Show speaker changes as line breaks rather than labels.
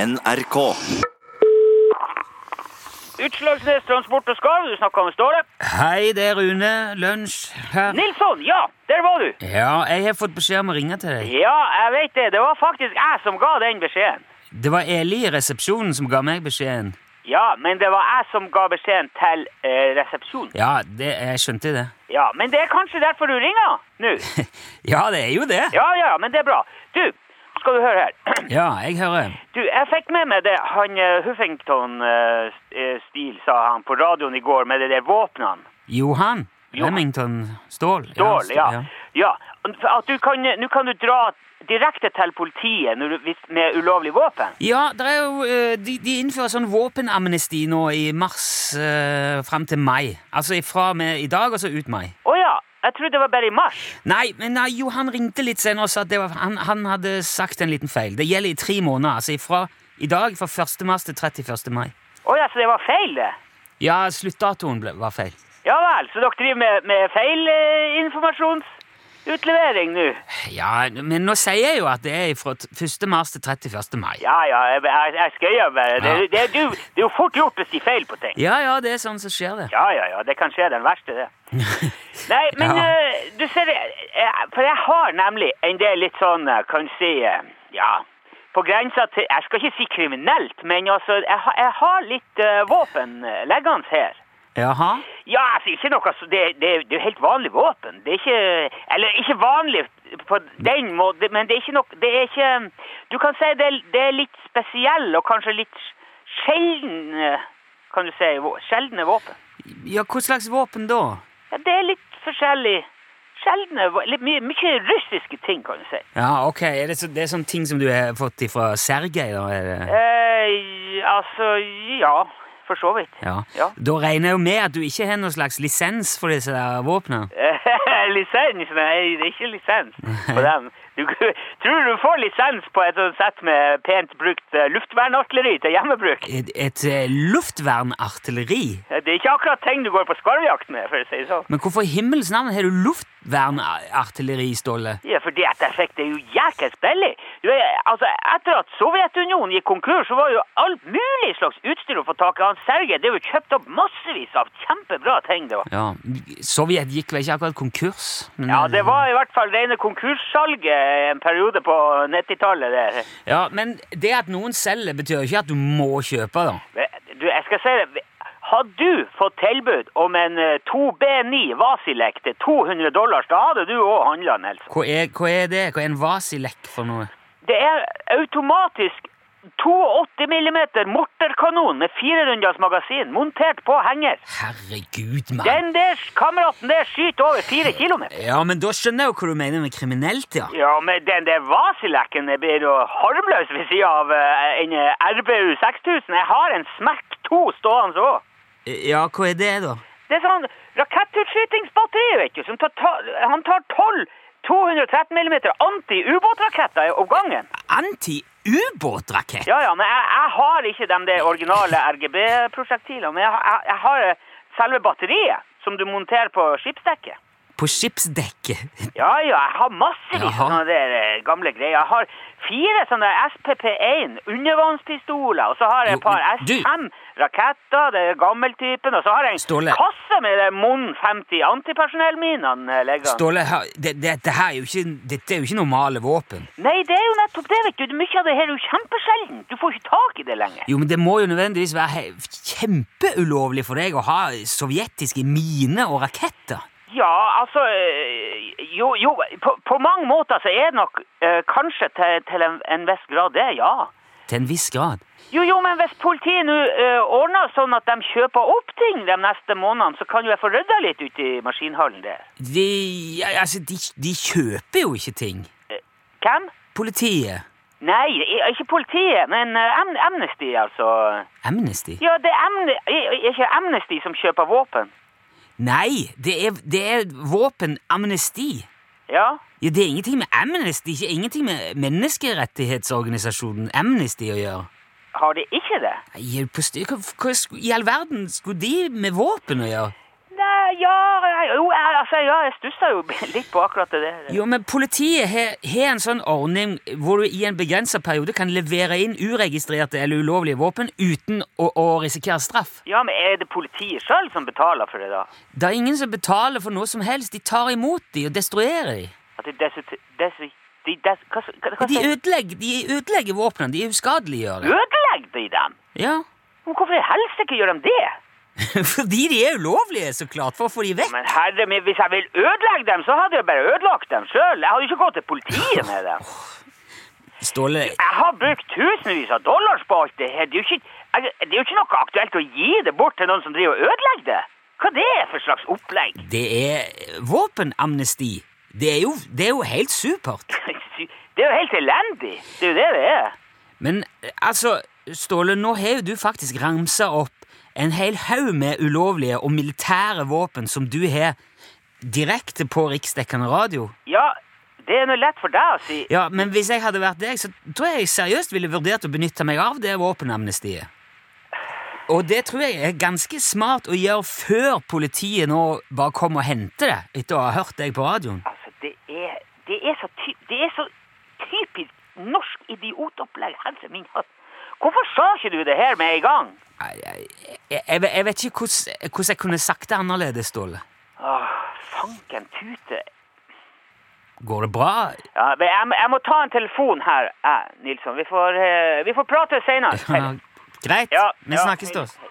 NRK.
Utslagsnes Transport og Skarv, du snakka med Ståle.
Hei, det er Rune. Lunsj her.
Nilsson, ja, der var du!
Ja, jeg har fått beskjed om å ringe til deg.
Ja, jeg vet det. Det var faktisk jeg som ga den beskjeden.
Det var Eli i resepsjonen som ga meg beskjeden.
Ja, men det var jeg som ga beskjeden til eh, resepsjonen.
Ja, det, jeg skjønte det.
Ja, men det er kanskje derfor du ringer nå?
Ja, det er jo det.
Ja, ja, men det er bra. Du, skal du høre her.
Ja, jeg hører.
Du, jeg fikk med meg det han eh, Huffington eh, st- eh, Steele sa han på radioen i går med de der våpnene.
Johan
Johan.
Remington Stål.
Dårlig,
Stål,
ja. ja. At du kan, nå kan du dra direkte til politiet når du, hvis- med ulovlig våpen.
Ja, det er jo, eh, de, de innfører sånn våpenamnesti nå i mars eh, fram til mai. Altså fra og med i dag og så ut mai.
Å ja, jeg trodde det var bare i mars.
Nei, men nei, jo, han ringte litt senere og sa at det var, han, han hadde sagt en liten feil. Det gjelder i tre måneder, altså fra i dag, fra 1. mars til 31. mai.
Å ja, så det var feil, det.
Ja, sluttdatoen ble, var feil.
Ja vel, så dere driver med, med feil eh, informasjonsutlevering nå?
Ja, men nå sier jeg jo at det er fra t- 1. mars til 31. mai.
Ja ja, jeg, jeg, jeg skøyer bare. Det,
Ja.
det, det, er jo- det er jo fort gjort å si feil på ting.
Ja, ja, det er sånn som skjer det.
Ja ja ja, det kan skje den verste, det. Nei, men
Ja.
eh, du ser, jeg- for jeg har nemlig en del litt sånn, eh, kan du si, eh, ja på grensa til Jeg skal ikke si kriminelt, men altså, jeg, har- jeg har litt eh, våpen eh, liggende her.
Jaha?
Ja, altså, ikke noe så det, det, det er jo helt vanlig våpen. Det er ikke Eller ikke vanlig på den måten, men det er ikke noe Det er ikke Du kan si det, det er litt spesiell og kanskje litt sjeldne Kan du si vå- sjeldne våpen?
Ja, hva slags våpen da?
Ja, det er litt forskjellig. Sjeldne vå- litt Mye, mye russiske ting, kan du si.
Ja, ok, er det, så, det er sånn ting som du har fått fra Sergej da, er det?
Eh, altså Ja, for så vidt.
Ja.
Ja.
Da regner jeg jo med at du ikke har noen slags lisens for disse der våpnene.
lisens? Nei, det er ikke lisens på dem. Du, tror du du får lisens på et sånt sett med pent brukt eh, luftvernartilleri til hjemmebruk?
Et, et eh, luftvernartilleri?
Det er ikke akkurat ting du går på skarvjakt med, for å si det sånn.
Men hvorfor i himmels navn har du luftvernartilleri, Ståle?
Ja, fordi at jeg fikk det jo jækels billig. Du, eh, altså, etter at Sovjetunionen gikk konkurs, så var jo alt mulig slags utstyr å få tak i. Han Sergej, det er jo kjøpt opp massevis av kjempebra ting, det var.
Ja, Sovjet gikk vel ikke akkurat konkurs? Men,
Ja, det var i hvert fall rene konkurssalget en periode på 90-tallet der.
Ja, men det at noen selger, betyr jo ikke at du må kjøpe, da.
Du, jeg skal si det. Hadde du fått tilbud om en eh, 2B9 Vasilek til 200 dollars, da hadde du òg handla den. Else.
Hva er, hva er det? Hva er en vasilekk for noe?
Det er automatisk 82 mm morterkanon med firerunders magasin montert på henger.
Herregud, mann.
Den der kameraten der skyter over fire kilometer.
Ja, men da skjønner jeg jo hva du mener med kriminelt, ja.
Ja, men den der Vasileken det blir jo harmløs ved sida av eh, en eh, RBU 6000. Jeg har en Smerk 2 stående òg.
Ja, hva er det, da?
Det er sånn rakettutskytingsbatteri, vet du. Som tar, ta- han tar 12 213 mm anti-ubåtraketter om gangen.
Anti-ubåtrakett?
Ja, ja, men jeg, jeg har ikke de der originale RGB-prosjektilene. Men jeg, har- jeg, jeg har eh, selve batteriet som du monterer på skipsdekket.
På skipsdekket?
Ja, ja, jeg har massevis av
Jaha.
sånne der eh, gamle greier. Jeg har fire sånne SPP-1 undervannspistoler, og så har jeg et
Jo,
par
men du-
S5 raketter, det er gammeltypen, og så har jeg en
Ståle.
kasse med de Mon 50 antipersonellminene eh, liggende.
Ståle, her- det- dette her er jo ikke, dette er jo ikke normale våpen.
Nei, det er jo nettopp det, vet du. Mye av det her er jo kjempesjelden. Du får ikke tak i det lenger.
Jo, men det må jo nødvendigvis være he- kjempeulovlig for deg å ha sovjetiske miner og raketter.
Ja, altså øh, Jo, jo på, på mange måter så er det nok øh, kanskje til, til en, en viss grad det, ja.
Til en viss grad.
Jo, jo, men hvis politiet nå øh, ordner sånn at de kjøper opp ting de neste månedene, så kan jo jeg få rydda litt ute i maskinhallen der.
De, ja, altså, de, de kjøper jo ikke ting.
Hvem?
Politiet.
Nei, i- ikke politiet, men øh, Am Amnesty, altså.
Amnesty.
Ja, det er Amne i- i- ikke Amnesty som kjøper våpen.
Nei, det er, det er våpenamnesti.
Ja.
Ja, det er ingenting med Amnesty, ikke ingenting med menneskerettighetsorganisasjonen Amnesty å gjøre.
Har de ikke det?
Nei, er du på styr- hva, hva sku- i all verden skulle de med våpen å gjøre?
Nei, ja, jeg, jo, jeg, altså, ja, jeg stussa jo litt på akkurat det.
Jo, men politiet har har en sånn ordning hvor du i en begrenset periode kan levere inn uregistrerte eller ulovlige våpen uten å, å risikere straff.
Ja, men er det politiet sjøl som betaler for det, da?
Det er ingen som betaler for noe som helst. De tar imot de og destruerer de.
At de desu- desu- de des, hva, s- hva, hva
De
sier
ødelegger, de ødelegger våpnene. De uskadeliggjør det.
Ødelegger de dem?
Ja.
Men Hvorfor i helsike gjør de det?
Fordi de er ulovlige, så klart. For å få de vekk.
Men herre min, hvis jeg ville ødelegge dem, så hadde jeg bare ødelagt dem sjøl. Jeg hadde ikke gått til politiet med dem.
Ståle,
Jeg har brukt tusenvis av dollars på alt det her. Det er jo ikke, jeg, det er jo ikke noe aktuelt å gi det bort til noen som driver og ødelegger det. Hva det er for slags opplegg?
det er våpenamnesti. Det er jo, det er jo helt supert.
Det er jo helt elendig. Det er jo det det er.
Men eh, altså, Ståle, nå har jo du faktisk ramsa opp en hel haug med ulovlige og militære våpen som du har direkte på riksdekkende radio.
Ja, det er nå lett for deg å si.
Ja, Men hvis jeg hadde vært deg, så tror jeg jeg seriøst ville vurdert å benytte meg av det våpenamnestiet. Og det tror jeg er ganske smart å gjøre før politiet nå bare kommer og henter det, etter å ha hørt deg på radioen.
Altså, det er, det er, så, ty, det er så typisk norsk idiotopplegg. Helse min hatt. Hvorfor sa ikke du det her med en gang?
Nei, Jeg, jeg, jeg, vet- jeg vet ikke hvordan, hvordan jeg kunne sagt det annerledes, Ståle.
Åh, fanken tute.
Går det bra?
Ja, men jeg, må- jeg må ta en telefon her, jeg, Nilsson. Vi får, eh, vi får prate senere.
Greit.
Ja,
Vi
ja,
snakkes,
hei,
da.
hei.